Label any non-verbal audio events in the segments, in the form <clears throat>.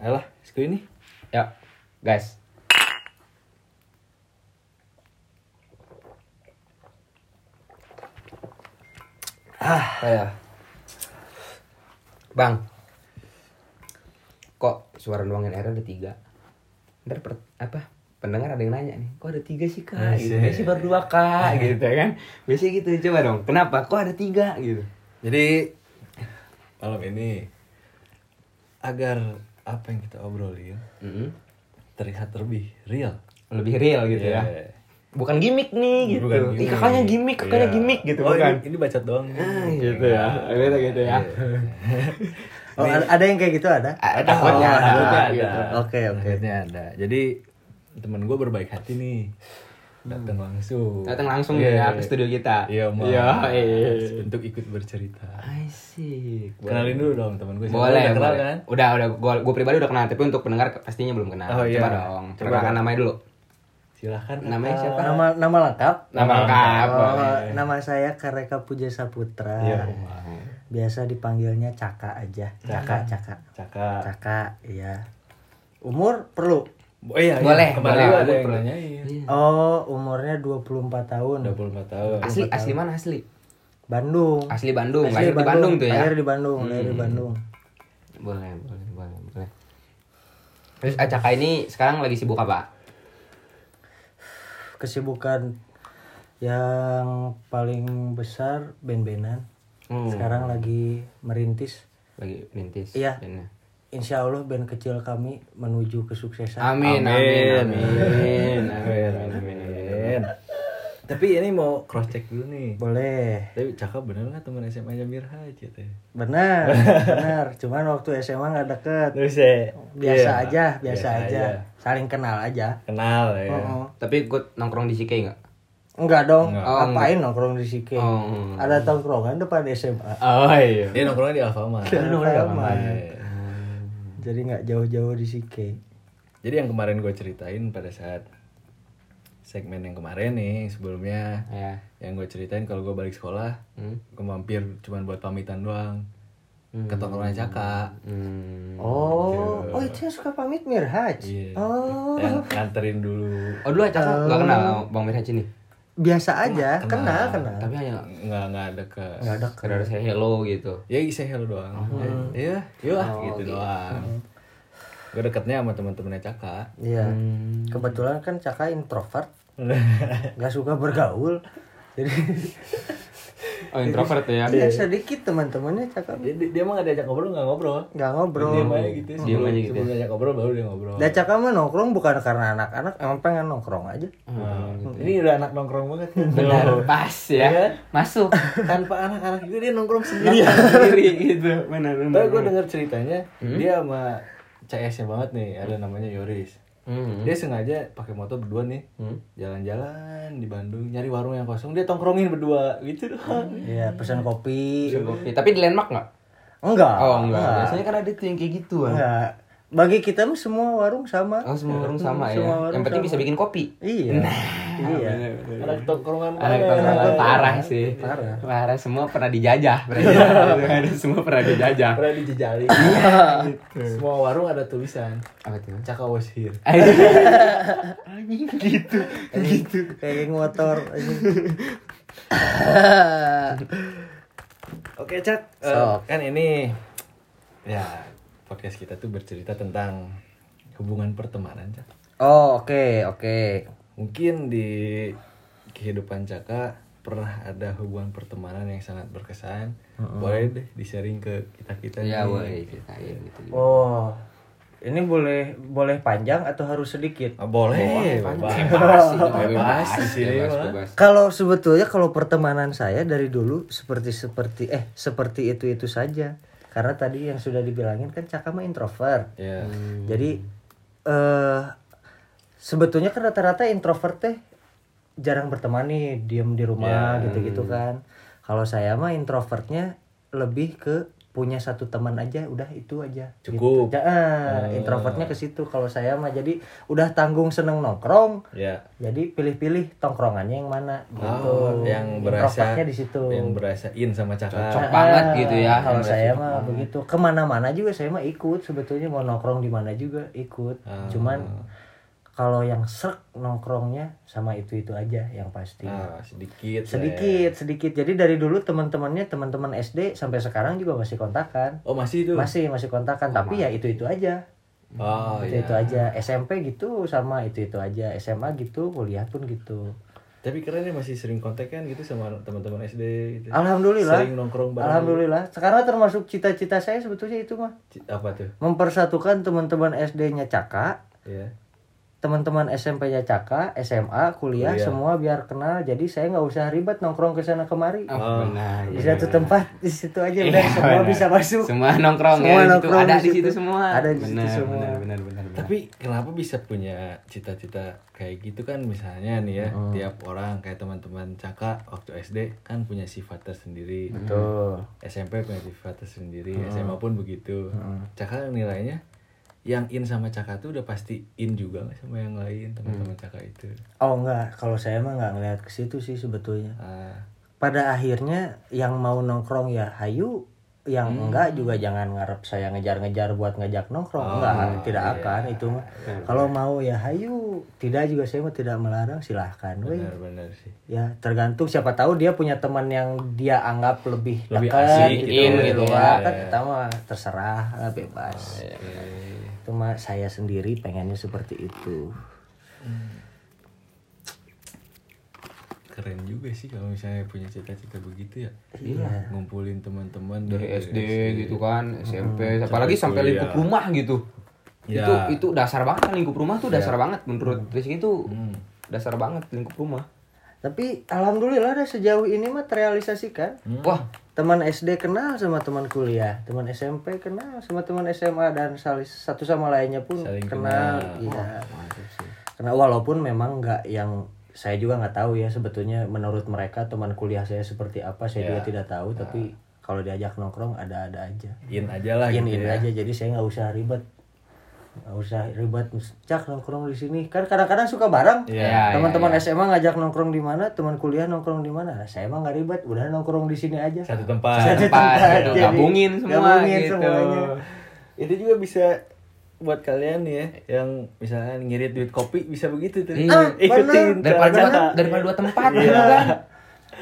Ayolah, sekali ini. Ya, guys. Ah, ya. Bang. Kok suara luangin airnya ada tiga? Ntar per, apa? Pendengar ada yang nanya nih, kok ada tiga sih kak? Asik. Gitu. Biasanya baru dua <laughs> kak, gitu kan? Biasanya gitu, coba dong. Kenapa? Kok ada tiga? Gitu. Jadi malam ini agar apa yang kita obrolin Mm-mm. terlihat lebih real. Lebih real gitu ya. Iya. Bukan gimmick nih gitu. Bukan Ih, kakaknya gimmick, kakaknya Iya. Iya. gimmick gitu Oh, bukan. Ini, ini baca doang. Ah, gitu ya. Gitu gitu ya. Oh, ada, ada yang kayak gitu ada? Ah, takutnya Oh, ada. takutnya gitu. ada. Oke, oke. Takutnya ada. Jadi temen gue berbaik hati nih. Datang langsung. Datang langsung Iya. ya ke studio kita. Iya, Mas. Iya, iya. Untuk ikut bercerita. Asik. Kenalin dulu dong temen gue. Boleh, Udah kenal boleh. kan? Udah, udah. Gua, gua pribadi udah kenal, tapi untuk pendengar pastinya belum kenal. Oh, iya. Coba dong. Coba Perkenalkan dong. namanya dulu. Silahkan. Namanya Kakak. siapa? Nama nama lengkap? Nama lengkap. Oh, nama saya Kareka Puja Saputra. Iya. Biasa dipanggilnya Caka aja. Caka, Caka. Cakak. Caka, iya. Umur perlu. Oh, iya, iya. Boleh, Kemarin boleh, gua ada boleh, yang boleh. nanyain. Iya. Oh, umurnya 24 tahun. 24 tahun. Asli, asli mana asli? Bandung. Asli Bandung. Lahir di Bandung tuh ya. Hmm. Lahir di Bandung, lahir di Bandung. Boleh, boleh, boleh, boleh. Terus Acaka ini sekarang lagi sibuk apa? Kesibukan yang paling besar band-bandan. Oh. Hmm. Sekarang lagi merintis. Lagi merintis. Iya. bandnya. Insya Allah band kecil kami menuju kesuksesan. Amin, amin, amin, amin, amin, Amin. Tapi ini mau cross check dulu nih. Boleh. Tapi cakep bener nggak teman SMA-nya Mirha gitu ya? Benar, benar. Cuman waktu SMA nggak deket. Terus ya, Biasa iya, aja, biasa, aja. Saling kenal aja. Kenal ya. Oh, Tapi ikut nongkrong di CK nggak? Enggak dong, Nggak. Oh, ngapain nongkrong di Sike? Oh. Ada tongkrongan depan SMA. Oh iya. Dia nongkrongnya di Alfamart. Alfamart. Iya. Jadi nggak jauh-jauh di Sike. Jadi yang kemarin gue ceritain pada saat segmen yang kemarin nih sebelumnya Ya. yang gue ceritain kalau gue balik sekolah Hmm. gue mampir cuman buat pamitan doang ke tongkrongan Caka Hmm. Oh, oh itu yang suka pamit Mirhaj. Iya. Oh, yang nganterin dulu Oh dulu Acaka nggak kenal sama Bang Mirha ini. biasa aja, kenal, kenal. Tapi hanya nggak nggak dekat Nggak ada sekedar saya hello gitu. ya saya hello doang ya yuk lah gitu doang gue deketnya sama teman-temannya Caka Iya. Hmm. Kebetulan kan Caka introvert, nggak suka bergaul. Jadi <laughs> Oh introvert ya. ya sedikit teman-temannya Caka <laughs> dia, Iya. dia dia emang nggak diajak ngobrol nggak ngobrol nggak dia ngobrol. aja gitu sebelum, sebelum diajak ngobrol baru dia ngobrol Dan Caka mah nongkrong bukan karena anak-anak, emang pengen nongkrong aja. Nah, ini udah anak nongkrong banget kan? Benar, pas ya. Masuk tanpa anak-anak juga dia nongkrong sendiri Iya. sendiri gitu. Benar, tapi gue dengar ceritanya Hmm? dia sama CS nya banget nih ada namanya Yoris Hmm. dia sengaja pakai motor berdua nih jalan-jalan di Bandung nyari warung yang kosong dia tongkrongin berdua gitu doang Hmm? Iya, pesan kopi. Oke, tapi di landmark nggak? Enggak. Oh enggak. Biasanya kan ada tuh yang kayak gitu. ah. Enggak. Bagi kita mah semua warung sama. Hmm, Oh semua orang sama ya. Semua orang Yang penting bisa bikin Nah, kopi. Iya. iya. <laughs> anak tongkrongan Iya. Anak mana? tongkrongan parah sih. iya, Parah. Iya. Parah semua pernah dijajah. berarti. semua pernah dijajah. pernah <laughs> dijejali Iya. Gitu. semua warung ada tulisan Apa tuh? Caka was here Anjing gitu. Gitu. Kayak <laughs> geng motor. aja. oke cak Eh, Sok. kan ini ya podcast kita tuh bercerita tentang hubungan pertemanan cak oh, oke, oke. mungkin di kehidupan caka pernah ada hubungan pertemanan yang sangat berkesan boleh deh di sharing ke kita kita Ya boleh ceritain gitu. Oh. Ini boleh boleh panjang atau harus sedikit? Ah, boleh, Iya, Bebas sih, bebas bebas, di sini bebas, mah. bebas. Kalau sebetulnya kalau pertemanan saya dari dulu seperti seperti eh seperti itu itu saja. Karena tadi yang sudah dibilangin kan Caka mah introvert. Ya. Jadi eh sebetulnya kan rata-rata introvert teh jarang berteman nih, diem di rumah gitu-gitu kan. Kalau saya mah introvertnya lebih ke punya satu teman aja udah itu aja Cukup. gitu. Ah, introvertnya ke situ kalau saya mah jadi udah tanggung seneng nongkrong ya jadi pilih-pilih tongkrongannya yang mana gitu Oh, yang berasa Introvertnya di situ yang berasa in sama Ah, Cocok. cakap banget gitu ya. kalau Yang saya berasa mah begitu kemana-mana juga saya mah ikut sebetulnya mau nongkrong di mana juga ikut Ah. cuman kalau yang serk nongkrongnya sama itu itu aja yang pasti nah, sedikit lah ya. sedikit sedikit jadi dari dulu teman-temannya teman-teman SD sampai sekarang juga masih kontakan oh masih itu masih masih kontakan tapi ya itu itu aja oh ya itu itu aja SMP gitu sama itu itu aja SMA gitu kuliah pun gitu tapi keren ya masih sering kontak kan gitu sama teman-teman SD gitu. Alhamdulillah. sering nongkrong bareng alhamdulillah sekarang termasuk cita-cita saya sebetulnya itu mah C- apa tuh mempersatukan teman-teman SD-nya Caka ya teman-teman SMP-nya Caka SMA kuliah Kuliah. Iya. semua biar kenal jadi saya nggak usah ribet nongkrong ke sana kemari Oh, benar. di iya. satu tempat di situ aja Iya, udah semua benar. bisa masuk Semua nongkrong Semua ya di situ. nongkrong ada di di situ situ. semua. Ada di situ Benar, semua. Benar, benar, benar, Iya. benar. Tapi kenapa bisa punya cita-cita kayak gitu kan misalnya nih ya Oh. tiap orang kayak teman-teman Caka waktu SD kan punya sifat tersendiri. tuh SMP punya sifat tersendiri, SMA pun begitu. Caka nilainya yang in sama Caka tuh udah pasti in juga nggak sama yang lain teman-teman Caka itu. oh enggak kalau saya mah nggak ngeliat ke situ sih sebetulnya Ah, pada akhirnya yang mau nongkrong ya hayu yang enggak juga jangan ngarep saya ngejar-ngejar buat ngajak nongkrong enggak tidak akan itu mah kalau mau ya hayu tidak juga saya mah tidak melarang silahkan weh benar-benar sih. ya tergantung siapa tahu dia punya teman yang dia anggap lebih, Lebih dekat asik, gitu, in gitu ya. ya. kan kita mah terserah lah, bebas iya. Eh, cuma saya sendiri pengennya seperti itu Keren juga sih kalau misalnya punya cita-cita begitu ya. Iya. Ngumpulin teman-teman dari SD gitu kan, SMP, Hmm, apalagi Sampai sampai kuliah. lingkup rumah gitu. Iya. Ya. Itu itu dasar banget kan lingkup rumah tuh dasar banget Hmm. menurut Rizky itu. Dasar banget lingkup rumah. tapi alhamdulillah dah sejauh ini mah terrealisasikan Wah, teman SD kenal sama teman kuliah, teman SMP kenal sama teman SMA dan saling satu sama lainnya pun Saling kenal. kenal. Iya. Karena walaupun memang nggak yang saya juga nggak tahu ya sebetulnya menurut mereka teman kuliah saya seperti apa saya juga tidak tahu tapi kalau diajak nongkrong ada-ada aja. In aja lah Ini gitu ya. aja jadi saya nggak usah ribet nggak usah ribet cak nongkrong di sini kan kadang-kadang suka bareng Iya, teman-teman SMA ngajak nongkrong di mana teman kuliah nongkrong di mana Nah, saya emang nggak ribet udah nongkrong di sini aja Satu tempat. Satu tempat, tempat, gitu. jadi Gabungin semua gabungin gitu. semuanya. <laughs> itu juga bisa buat kalian nih ya yang misalnya ngirit duit kopi bisa begitu tuh Iya. ikutin bener. daripada dua, cara-cara. daripada dua tempat Iya. gitu <laughs> kan.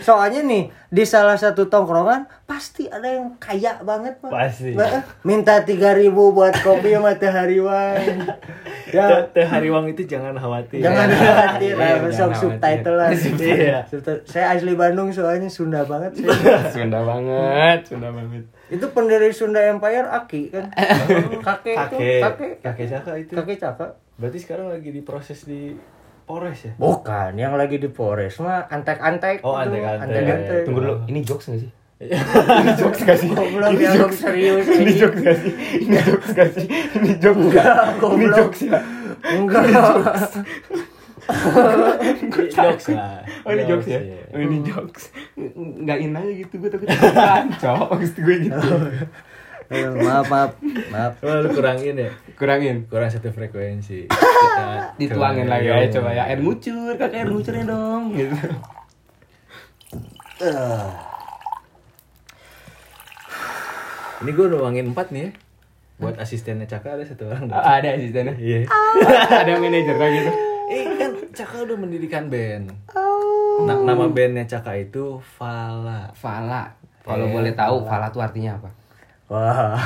Soalnya nih di salah satu tongkrongan pasti ada yang kaya banget Pak. Pasti. Nah, Minta 3000 buat kopi sama teh <laughs> hariwan. Teh- ya, teh hariwang itu jangan khawatir jangan khawatir Iya, lah, besok jangan subtitle <laughs> lah. Iya. Subtitle. Saya asli Bandung soalnya Sunda <laughs> banget. saya. Sunda banget, Sunda banget. itu pendiri Sunda Empire Aki <laughs> kan. kakek itu, kakek kakek. kakek Saka itu Kakek cakep. berarti sekarang lagi diproses di Polres ya Bukan, yang lagi di Polres mah antek-antek. Oh, itu, antek-antek. antek-antek. Tunggu dulu, ini jokes gak <laughs> sih? ini jokes gak sih? Goblok, Ini ya, jokes. serius, Ini ini. jokes gak sih? Ini jokes gak sih? Ini jokes gak? Ini goblok. jokes gak? Enggak. jokes lah Oh ini jokes ya? iya. Oh ini jokes Nggak in aja gitu, gue <laughs> takut kacau Maksud gue gitu Eh, maaf, maaf, maaf. Cuma lu kurangin ya Kurangin kurang satu frekuensi Kita Dituangin coba- lagi Iya. aja coba ya Air ngucur, kakak air ngucurnya dong <laughs> gitu. Eh, ini gue nuangin empat nih ya buat asistennya Caka ada satu orang dah. Oh, Ada asistennya iya <laughs> Ada manajernya gitu Eh kan Caka udah mendirikan band. Nah, nama bandnya Caka itu Fala. Fala Kalau boleh tahu, Fala tuh artinya apa? Wah,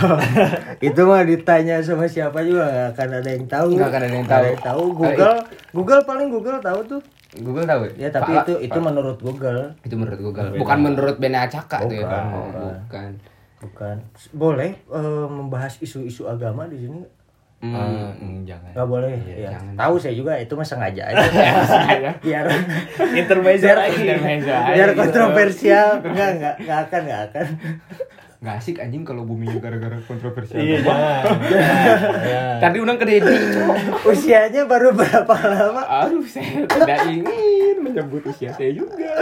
itu mah ditanya sama siapa juga nggak akan ada yang tahu. Nggak akan ada yang tahu. Eh, Nggak ada Google, Google paling Google tahu tuh. Google tahu Ya tapi Fala- itu itu menurut Google, itu menurut Google bukan menurut Bene Acaka tuh ya Bukan, Bang? Oh, bukan bukan. Boleh eh, membahas isu-isu agama di sini? Eh, Hmm. <laughs> mm, jangan. Nggak boleh. Iya, ya. Tahu saya juga itu mah sengaja aja. biar Intermezzo Iya, lagi. biar, Intermezzo aja biar gitu. kontroversial. Enggak, enggak, enggak akan, enggak akan. nggak asik anjing kalau bumi gara-gara kontroversial Iya, jangan. Kan- tadi undang ke Dedi Usianya baru berapa lama? aduh saya tidak ingin menyambut usia saya juga.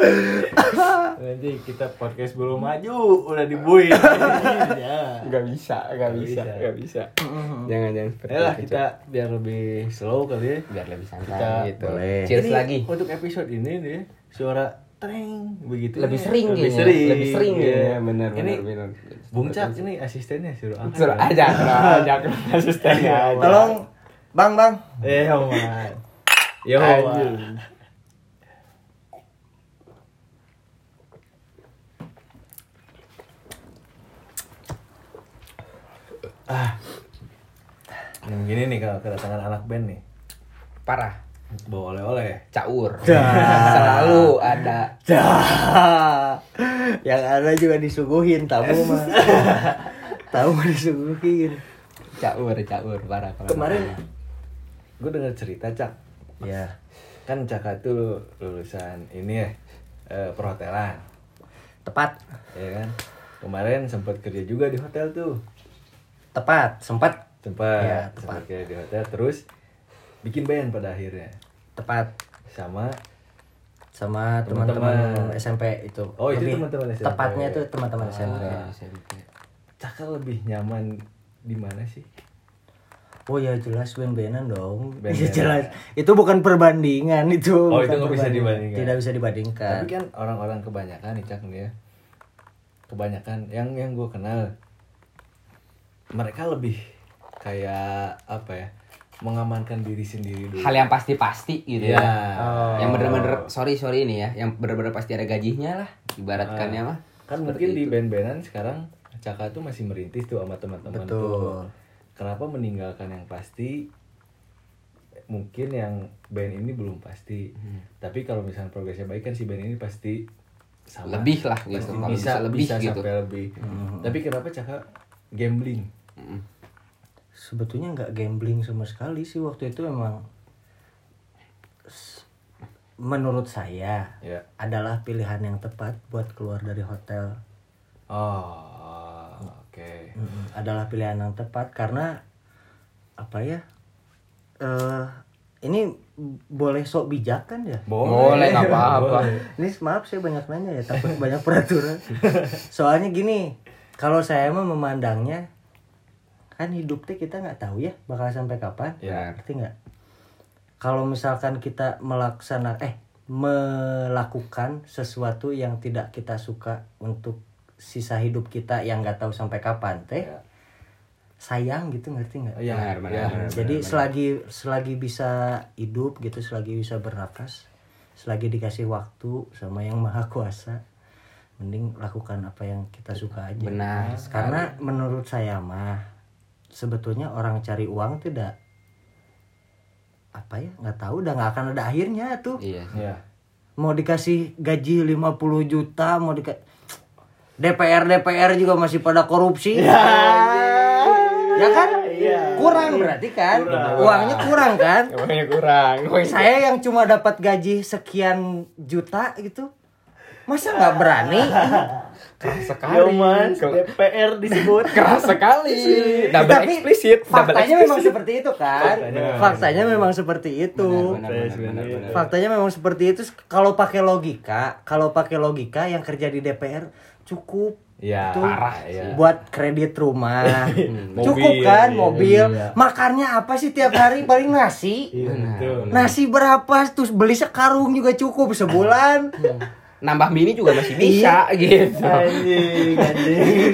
Nanti kita podcast belum maju udah <laughs> dibuin. ya. Nggak bisa, nggak bisa, bisa. nggak bisa. Jangan jangan seperti Yalah, itu, Cok. kita biar lebih slow kali ya. biar lebih santai Kita gitu. boleh. Cheers Ini lagi. Untuk episode ini nih suara treng begitu. Lebih ya. sering lebih kayaknya, sering. lebih sering ya. Iya, kayaknya. Bener, Ini bener, bener. Bung Cak ini asistennya suruh angkat. Suruh <laughs> aja, suruh aja ke asistennya aja. Tolong, bang bang. Eh, Ya Oman. Yo, Anjing. Oman. Nah, begini Ah. nih kalau kedatangan anak band nih Parah. bawa oleh-oleh. <laughs> Caur. Selalu ada. Dah. Yang ada Ya, juga disuguhin tamu <laughs> mah. tamu disuguhin. Caur, caur, parah. parah. Kemarin gue dengar cerita cak Ya. kan cak itu lulusan ini ya eh, perhotelan Tepat. ya kan kemarin sempat kerja juga di hotel tuh Tepat. Sempat. tempat Ya, tempat tepat. kayak di hotel terus bikin band pada akhirnya Tepat. sama Sama Teman-teman. teman-teman SMP itu. Oh, itu Lebih teman-teman SMP. Tepatnya tuh teman-teman SMP. cakal Ah, lebih nyaman di mana sih Oh ya jelas band-bandan dong. <laughs> Band-bandan. Iya jelas. Itu bukan perbandingan itu. Oh, itu bukan nggak bisa perbandingan. dibandingkan. Tidak bisa dibandingkan. tapi kan orang-orang kebanyakan nih cak nih ya kebanyakan yang yang gue kenal mereka lebih kayak apa ya mengamankan diri sendiri dulu Hal yang pasti-pasti Iya. gitu ya. Yang bener-bener, sorry sorry ini ya, yang bener-bener pasti ada gajinya lah, ibaratkannya mah. kan mungkin Seperti di itu. band-bandan sekarang Caka tuh masih merintis tuh sama teman-teman Betul. tuh. Kenapa meninggalkan yang pasti? Mungkin yang band ini belum pasti. Hmm. Tapi kalau misalnya progresnya baik kan si band ini pasti sama. lebih lah gitu, Pasti kalau bisa, bisa lebih bisa gitu. sampai lebih. Tapi kenapa Caka gambling? Mm. sebetulnya nggak gambling sama sekali sih waktu itu emang s- menurut saya Ya. adalah pilihan yang tepat buat keluar dari hotel Oh, oke. Mm, adalah pilihan yang tepat karena apa ya eh ini boleh sok bijak kan ya Boleh, nggak apa-apa. Boleh. ini maaf saya banyak nanya ya takut banyak peraturan soalnya gini kalau saya mah memandangnya kan hidupnya kita nggak tahu ya bakal sampai kapan Ya. ngerti nggak kalau misalkan kita melaksana eh melakukan sesuatu yang tidak kita suka untuk sisa hidup kita yang nggak tahu sampai kapan teh Iya. Ya. sayang gitu ngerti nggak Ya, Benar, benar, ya. Iya, benar. jadi selagi selagi bisa hidup gitu, selagi bisa bernapas, selagi dikasih waktu sama yang maha kuasa, mending lakukan apa yang kita suka aja. Nah, Benar. Karena menurut saya mah sebetulnya orang cari uang tidak apa ya nggak tahu udah nggak akan ada akhirnya tuh Iya. Ya. mau dikasih gaji 50 juta mau di DPR DPR juga masih pada korupsi <laughs> ya kan Iya. kurang berarti kan uangnya kurang kan Uangnya kurang. saya yang cuma dapat gaji sekian juta gitu masa nggak berani <laughs> Keras sekali. DPR disebut. <laughs> Keras sekali. Double tapi eksplisit. double faktanya memang seperti itu kan Faktanya. faktanya memang seperti itu Benar, benar, benar, benar, benar. faktanya memang seperti itu kalau pakai logika kalau pakai logika yang kerja di DPR cukup Ya, Tuh, parah ya. buat kredit <laughs> rumah Mobil, cukup kan iya, mobil iya. makannya apa sih tiap hari paling nasi Iya, betul. nasi berapa terus beli sekarung juga cukup sebulan Iya. Nambah mini juga masih bisa gitu. Anjing, <laughs> anjing.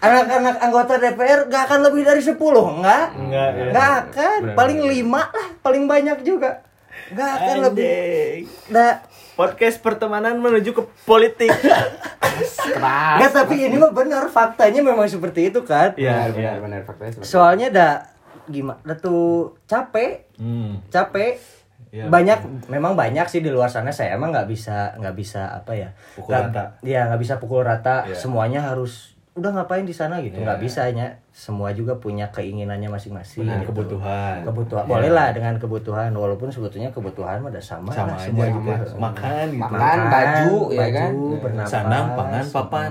anak-anak anggota DPR gak akan lebih dari 10 enggak Enggak ya. gak akan paling lima lah paling banyak juga gak Kan akan lebih nah Podcast pertemanan menuju ke politik. Keras. nggak, tapi ini mah benar faktanya memang seperti itu kan Iya, iya. <laughs> benar, benar faktanya seperti soalnya dah gimana dah tuh capek Hmm. capek Iya, banyak memang banyak sih di luar sana saya emang nggak bisa nggak bisa apa ya Pukul Nggak- rata. iya nggak bisa pukul rata Iya. semuanya harus udah ngapain di sana gitu Iya. nggak bisa ya semua juga punya keinginannya masing-masing Benar, gitu. kebutuhan. kebutuhan Iya. boleh lah dengan kebutuhan walaupun sebetulnya kebutuhan mah udah sama, Sama lah, aja semua gitu. juga. Makan gitu. Makan. baju, ya kan? bernapas, Sandang, pangan, papan.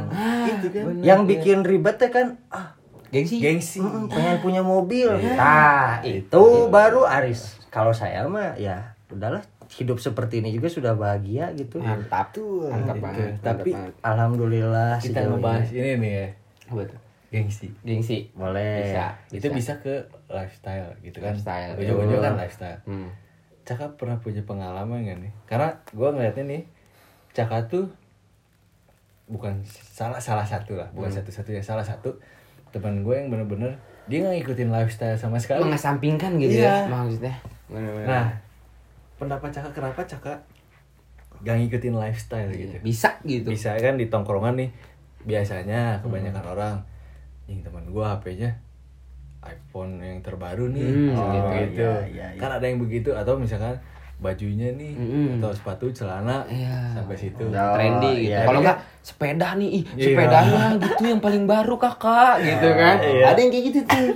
Gitu kan. Benar, yang iya. bikin ribet ya kan ah Gengsi. Gengsi. Mm, pengen Nah, punya mobil. Nah, itu baru Aris. Kalau saya mah ya udahlah hidup seperti ini juga sudah bahagia gitu Mantap. Betul. Mantap Gitu. banget. Tapi mantap banget. alhamdulillah kita sejauh ngebahas ini nih ya, Apa tuh? gengsi. Gengsi. ini. boleh Bisa. Itu bisa ke lifestyle gitu kan. Lifestyle. Ujung-ujung kan lifestyle. Hmm. Caka pernah punya pengalaman gak nih? Karena gua ngeliatnya nih, Caka tuh bukan salah salah satu lah, bukan satu-satunya salah satu teman gue yang bener-bener dia nggak ngikutin lifestyle sama sekali. Mengesampingkan gitu Iya. ya maksudnya. Bener-bener. Nah, pendapat Caka kenapa Caka gak ngikutin lifestyle gitu? bisa gitu. Bisa kan di tongkrongan nih biasanya kebanyakan Hmm. orang yang teman gua HP-nya iPhone yang terbaru nih Hmm, oh, gitu. gitu. Iya, iya, Kan ada yang begitu atau misalkan bajunya nih Mm-mm. atau sepatu celana Iya. sampai situ. Udah. trendy Oh, gitu. iya. Kalau Iya. nggak sepeda nih, ih, Iya. sepedanya gitu yang paling baru kakak gitu kan. Iya. Ada yang kayak gitu tuh.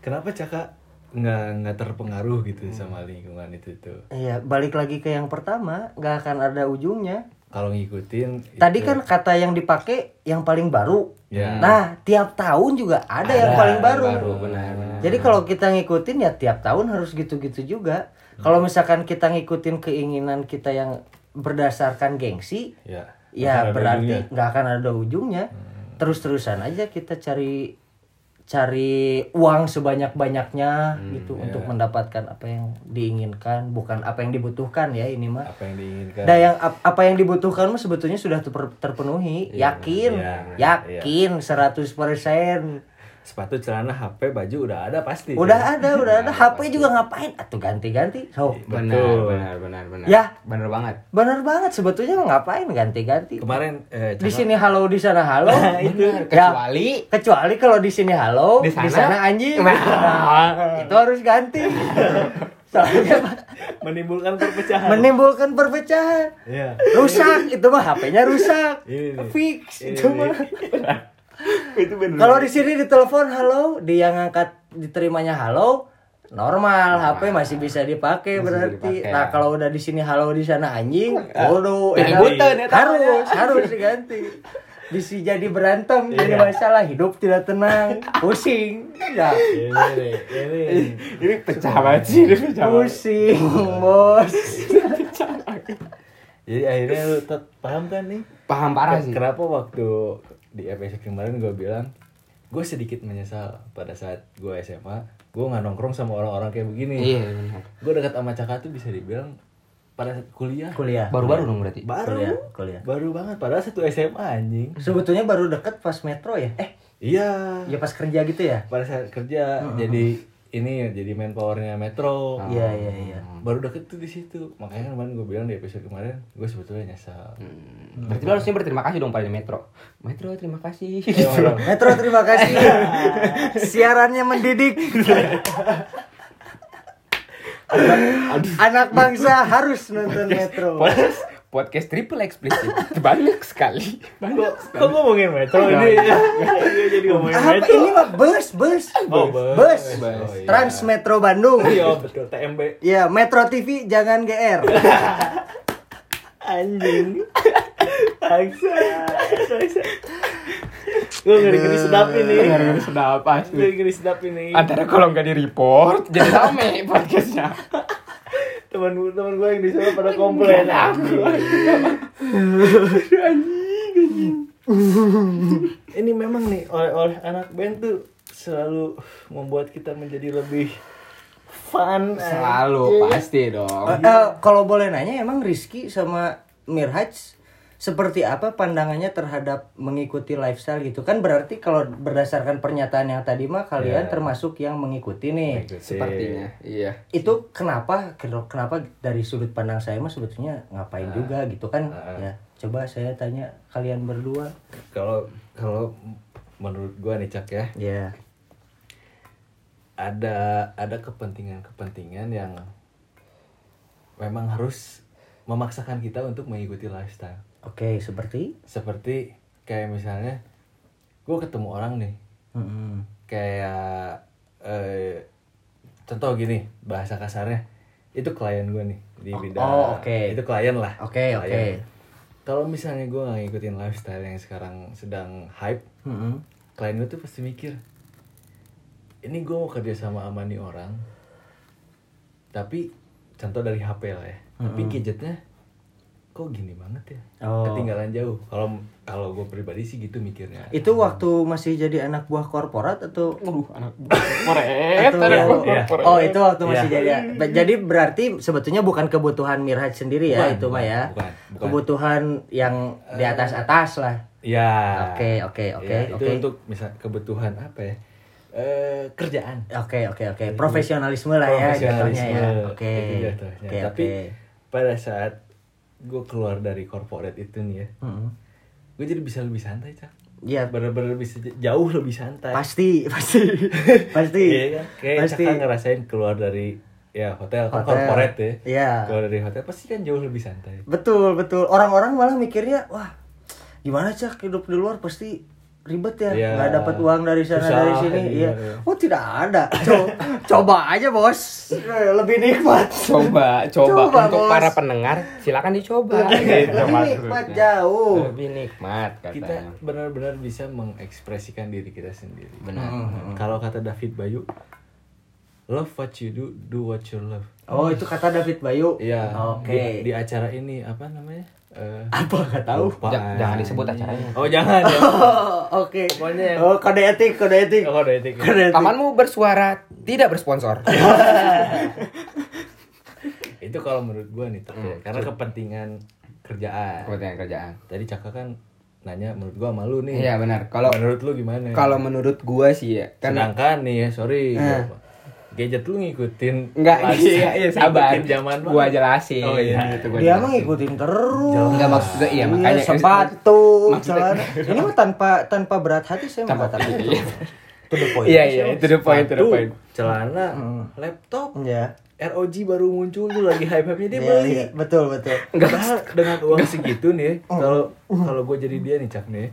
Kenapa Caka nggak nggak terpengaruh Hmm. gitu sama lingkungan itu tuh? Iya, balik lagi ke yang pertama, nggak akan ada ujungnya. Kalau ngikutin Tadi itu- kan kata yang dipakai yang paling baru. Ya. Nah, tiap tahun juga ada, yang paling yang baru. baru, benar-benar. Jadi kalau kita ngikutin ya tiap tahun harus gitu-gitu juga. Kalau misalkan kita ngikutin keinginan kita yang berdasarkan gengsi, ya, Ada ujungnya. ya berarti nggak akan ada ujungnya. Terus-terusan aja kita cari cari uang sebanyak-banyaknya Hmm, gitu ya. untuk mendapatkan apa yang diinginkan, bukan apa yang dibutuhkan ya ini mah. apa yang diinginkan. Nah, yang ap- apa yang dibutuhkan mah sebetulnya sudah ter- terpenuhi, yakin, iya, yakin 100%. sepatu celana HP baju udah ada pasti Udah ada, udah ada. Iya, HP juga ngapain? Atuh ganti-ganti. So, Benar, benar, benar, benar. Ya. benar banget. bener banget sebetulnya mah ngapain ganti-ganti. kemarin Iya, eh, Caka- Di sini halo, di sana <laughs> halo. Benar, Ya, kecuali <laughs> kecuali kalau di sini halo, Di di sana- sana, anjing. Nah. Nah, <laughs> itu harus ganti. Soalnya mah menimbulkan perpecahan menimbulkan perpecahan. Iya. Rusak itu mah HP-nya rusak. Ini nih. Fix Ini itu nih. mah. itu benar. Kalau di sini ditelepon halo, dia yang angkat diterimanya halo, normal, HP masih bisa dipakai berarti. dipakai. Nah, kalau udah di sini halo di sana anjing, waduh, Jadi enak. buta nih, harus harus diganti. Bisa jadi berantem, jadi masalah hidup tidak tenang, pusing, ya, ini nih, ini nih. ini pecah banget sih, ini pecah banget. pusing, bos. jadi akhirnya lu tet- paham kan nih Paham parah sih. kenapa waktu di episode kemarin gue bilang gue sedikit menyesal pada saat gue SMA gue nggak nongkrong sama orang-orang kayak begini Iya, benar. gue dekat sama Caka tuh bisa dibilang pada saat kuliah Kuliah. Baru-baru dong berarti. baru Kuliah, kuliah. baru banget padahal satu SMA anjing Sebetulnya baru deket pas metro ya. Eh, iya ya pas kerja gitu ya. pada saat kerja jadi ini ya, jadi manpowernya metro Iya, iya, iya. Hmm. baru deket tuh di situ makanya kemarin gue bilang di episode kemarin gue sebetulnya nyesal Hmm. Berarti lo harusnya berterima kasih dong pada Metro. Metro terima <laughs> kasih. Ya Metro terima kasih. <laughs> Siarannya mendidik. Anak bangsa harus nonton Metro. Podcast, podcast triple eksplisit. <laughs> Banyak sekali. Banyak. kok ngomongin metro ini <laughs> Dia Iya, jadi ngomongin Apa ini mah bus, bus, Oh, bus, bus. Oh, iya. Trans Metro Bandung. iya betul TMB Ya Metro TV jangan GR. anjing Aksa, gue ngeri-ngeri sedap ini Dengerin sedap Gua asli. ngeri sedap ini Antara kalau nggak di report jadi rame podcastnya. teman gue teman gue yang di sana pada komplain Aku. ini memang nih oleh oleh anak band tuh selalu membuat kita menjadi lebih fun Selalu pasti dong. Eh, eh, Kalau boleh nanya emang Rizky sama Mirhaj seperti apa pandangannya terhadap mengikuti lifestyle gitu kan berarti kalau berdasarkan pernyataan yang tadi mah kalian termasuk yang mengikuti nih. Gitu Sepertinya. Iya. itu kenapa kira- kenapa dari sudut pandang saya mah sebetulnya ngapain juga gitu kan ya coba saya tanya kalian berdua kalau kalau menurut gua nih cak ya ya ada ada kepentingan-kepentingan yang memang harus memaksakan kita untuk mengikuti lifestyle oke seperti seperti kayak misalnya gua ketemu orang nih Mm-mm. kayak eh, contoh gini bahasa kasarnya itu klien gue nih di bidang oh, oke. itu klien lah oke Klien. oke kalau misalnya gue nggak ngikutin lifestyle yang sekarang sedang hype Mm-mm. klien gue tuh pasti mikir ini gue mau kerja sama sama nih orang tapi contoh dari HP lah ya tapi gadgetnya kok gini banget ya Oh. ketinggalan jauh kalau kalau gue pribadi sih gitu mikirnya Itu waktu masih jadi anak buah korporat atau Aduh, anak Moret, Atau- anak Iya. moret. Oh itu waktu masih jadi ba- Jadi berarti sebetulnya bukan kebutuhan Mirhaj sendiri ya Bukan, itu mah bukan, ya bukan, bukan. Kebutuhan yang di atas-atas lah ya Oke oke oke Ya, itu oke untuk misal kebutuhan apa ya Eh, kerjaan Oke oke oke Profesionalisme lah ya jatuhnya Iya, profesionalisme ya Oke itu jatuhnya. oke tapi oke pada saat gue keluar dari corporate itu nih ya gue jadi bisa lebih santai cak Ya, Iya bener-bener bisa j- jauh lebih santai pasti <laughs> <laughs> pasti pasti Iya kan? kayak pasti Kakak ngerasain keluar dari ya hotel, kan Hotel. corporate ya Iya. keluar dari hotel pasti kan jauh lebih santai Betul, betul. Orang-orang malah mikirnya, wah, gimana cak hidup di luar pasti ribet ya, Iya. nggak dapat uang dari sana Susah, dari sini. iya, Iya. iya. Oh tidak ada. Co- <laughs> coba aja bos, Eh, lebih nikmat. Coba, coba, Coba, untuk Bos. iya, para pendengar silakan Iya, dicoba. Lebih Gitu nikmat maksudnya. jauh. Lebih nikmat katanya. kita benar-benar bisa mengekspresikan diri kita sendiri Benar. Hmm, kalau kata David Bayu love what you do do what you love Oh itu kata David Bayu. Iya. Oke. Di, di acara ini apa namanya? Eh, Apa nggak tahu? lupaan. Ja- jangan disebut acaranya. Oh <laughs> jangan. ya. Oh, Oke. Pokoknya yang- Oh kode etik, kode etik. Oh, kode etik. Kode etik. Pamanmu bersuara tidak bersponsor. Itu kalau menurut gua nih, Tok, Hmm. ya. karena kepentingan kerjaan. Kepentingan kerjaan. Tadi Caka kan nanya menurut gua malu nih. Iya benar. Kalau menurut lu gimana? kalau menurut gua sih ya, karena Eh. sedangkan nih ya, sorry. gua- Gadget lu ngikutin enggak lagi. iya, iya, sabar. Ngikutin zaman gua banget. jelasin Oh, iya. gitu gua. Dia jelasin. mah ngikutin terus. Enggak maksud gua iya makanya sepatu, Maksudnya- celana. <laughs> Ini mah tanpa tanpa berat hati saya Tanpa mengatakan berat itu. <laughs> hati. Itu the point. Iya iya, itu the point, itu the Tuh, point. Hmm. celana, laptop, Iya. ROG baru muncul tuh lagi hype-hype-nya dia Iya, beli. iya, betul betul. Padahal dengan uang segitu nih, Oh. kalau kalau gue jadi dia nih Cak nih,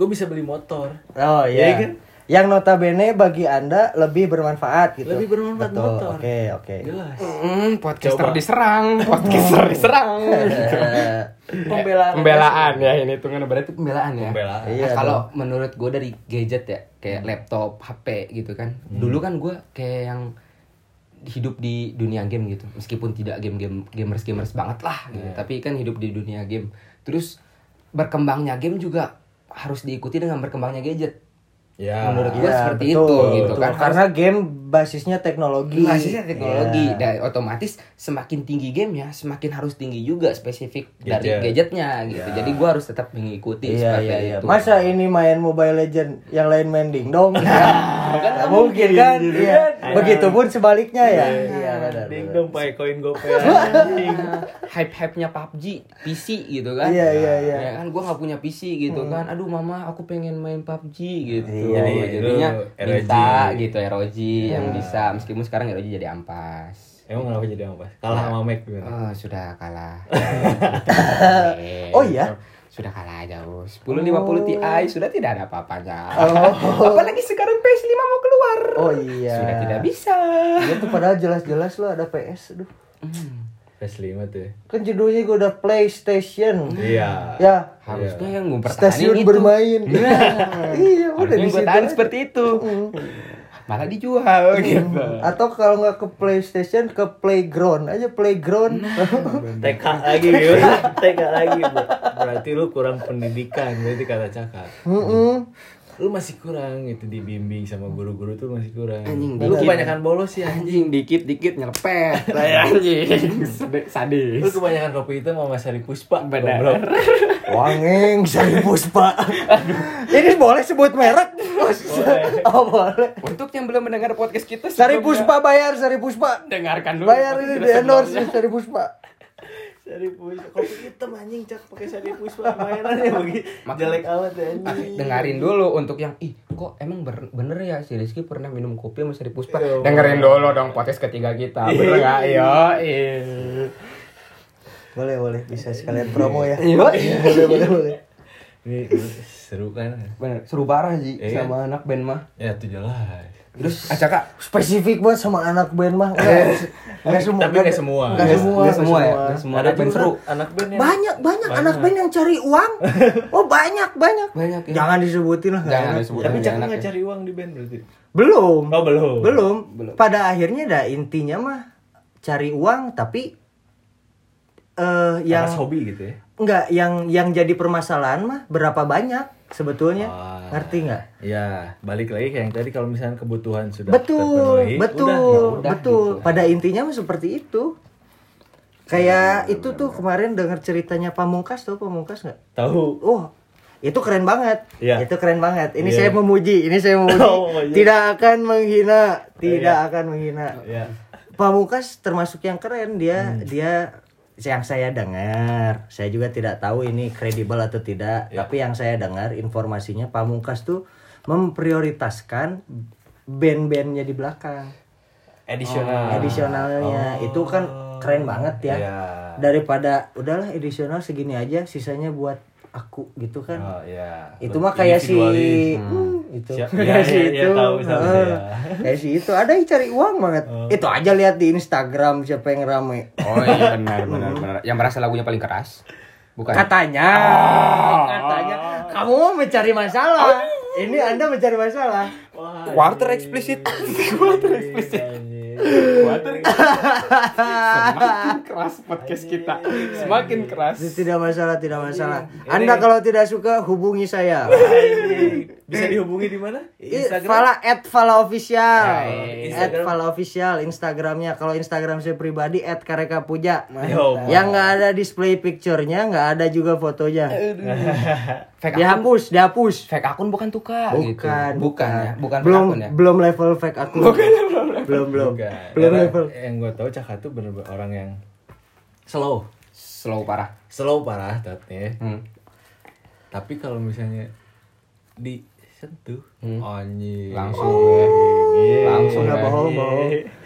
gue bisa beli motor. Oh Iya iya. kan? Yang notabene bagi Anda lebih bermanfaat gitu. Lebih bermanfaat betul. motor. Oke, oke. Jelas. Hmm, podcaster Coba. diserang, podcaster diserang. <laughs> Eh, Pembelaan. pembelaan ya ini hitungannya berarti pembelaan ya. Pembelaan. Hmm. Nah, Iya kalau menurut gue dari gadget ya kayak laptop, HP gitu kan. Dulu kan gue kayak yang hidup di dunia game gitu. Meskipun tidak game-game gamers gamers banget lah gitu, Iya. tapi kan hidup di dunia game. Terus berkembangnya game juga harus diikuti dengan berkembangnya gadget. Ya. Menurut gue iya, seperti betul, itu gitu betul. kan. Karena game basisnya teknologi. Basisnya teknologi Iya. dan otomatis semakin tinggi gamenya semakin harus tinggi juga spesifik Gadget. dari Iya. gadgetnya gitu. Jadi gua harus tetap mengikuti Iya, seperti iya, iya. itu. Masa ini main Mobile Legend, yang lain main Ding <laughs> Dong? kan Nah, nggak mungkin mungkin, kan? gitu Iya. kan? Begitupun sebaliknya ya. Iya, benar, Ding benar. dong pakai koin gopay <laughs> anjing. hype-hype-nya PUBG PC gitu kan. Iya, iya, iya. Hmm. Ya kan gua nggak punya PC gitu kan. Aduh mama, aku pengen main PUBG gitu. Iya, iya. Jadinya Lu minta ROG. gitu ROG yang bisa meskipun sekarang ROG jadi ampas. Emang kenapa jadi apa? Kalah sama Mac gimana? Oh, sudah <laughs> kalah. Oh, iya? Sudah kalah jauh. 1050 Ti sudah tidak ada apa-apanya. <laughs> Oh. Apalagi sekarang PS5 mau keluar. Oh iya. Sudah tidak bisa. Iya tuh padahal jelas-jelas lo ada PS. Aduh. Hmm, PS5 tuh. ya. Kan judulnya gue udah PlayStation. Iya. Ya. Harusnya yang gue pertahanin Stasiun itu. bermain. Nah, iya, udah Harusnya di yang gue situ. tahan seperti itu. Malah dijual gitu. <laughs> Atau kalau nggak ke PlayStation ke playground aja <laughs> playground. TK lagi gitu. TK lagi. Bro. Berarti lu kurang pendidikan berarti kata Caka. Heeh. Lu masih kurang gitu dibimbing sama guru-guru tuh masih kurang. Anjing, lu dikit. kebanyakan bolos ya. Anjing dikit-dikit <laughs> nyelepet. Lah, Anjing Lu sadis. kebanyakan kopi itu sama Mas Sari Puspa. Benar. goblok. Wangeng seribu pak. Ini boleh sebut merek? Oh boleh. Untuk yang belum mendengar podcast kita Sari sebelumnya, Puspa bayar, Sari Puspa. dengarkan Kan dulu. Bayar podcast ini kita di endorse sebelumnya. Sari Puspa. Sari Puspa. Kopi hitam anjing Cak pakai Sari Puspa <laughs> bayarannya begitu. Jelek amat ya Oke, anjing. dengerin dulu untuk yang ih kok emang ber- bener ya si Rizky pernah minum kopi sama Sari Puspa Iya. dengerin dulu dong podcast ketiga kita bener nggak Iya, yo Boleh boleh bisa sekalian promo ya. Iya. Boleh boleh boleh. Ini seru kan? bener seru parah sih Iya. sama anak band mah Ya itu jelas. terus acaka spesifik banget sama anak band mah nggak nggak semua Tapi nggak semua. nggak Nggak- semua nggak semua ya nggak nggak semua Ada anak band juga seru anak band ya? yang banyak, banyak anak band yang cari uang oh banyak banyak Banyak, ya. jangan disebutin lah nggak Jangan enak. disebutin. Tapi Banyak Caka anak nggak ya. cari uang di band berarti. belum Oh belum. belum pada akhirnya dah intinya mah cari uang tapi eh yang yang hobi gitu ya enggak yang yang jadi permasalahan mah berapa banyak sebetulnya Ah. ngerti nggak ya balik lagi ke yang tadi kalau misalnya kebutuhan sudah betul terpenuhi, betul udah, ya udah. betul pada intinya mah seperti itu Iya, kayak itu tuh kemarin denger ceritanya pamungkas tuh pamungkas nggak tahu Oh, itu keren banget. Iya. Itu keren banget. Ini Iya. saya memuji, ini saya memuji. <laughs> Oh, iya. Tidak akan menghina, tidak Iya. akan menghina. ya Pamungkas termasuk yang keren dia Hmm. dia yang saya dengar, saya juga tidak tahu ini kredibel atau tidak, Iya. tapi yang saya dengar informasinya Pamungkas tuh memprioritaskan band-bandnya di belakang, edisional edisionalnya. Itu kan keren banget ya. Iya. Daripada udahlah edisional segini aja, sisanya buat aku gitu kan Oh, iya. itu mah kayak si Individualis. Hmm, itu <laughs> Siap. kayak Ya, si ya, ya, itu tahu, tahu, Oh. Heeh. ya. kayak si itu ada yang cari uang banget itu aja lihat di Instagram siapa yang rame Oh iya benar benar benar. Yang merasa lagunya paling keras bukan? Oh. katanya Ah. katanya kamu mau mencari masalah ini anda mencari masalah Wah, Quarter explicit. <laughs> Quarter explicit. anjir. Quarter Semakin keras podcast kita. Semakin keras. Itu tidak masalah tidak Iya. masalah anda kalau tidak suka hubungi <laughs> saya Bisa dihubungi di mana? I- Fala at Fala official, Eh, at Instagram. Fala official Instagramnya. Kalau Instagram saya pribadi at Kareka Puja. Yo, Pak. Yang nggak ada display picture-nya, nggak ada juga fotonya. Fake akun, Dihapus, dihapus. Eh, fake akun bukan tuh kak. Ya. Bukan, gitu. bukan, ya, bukan fake belum akun ya. belum level fake akun. belum belum Bukan. belum Karena level. Yang gue tahu Caka tuh bener-bener orang yang slow, Slow parah. slow parah ya. tatnya. <laughs> Hmm. Tapi kalau misalnya disentuh, anjing. Oh. Iya. Hmm. Langsung. ya. Anjing. Langsung, Nggak ya. bohong bohong.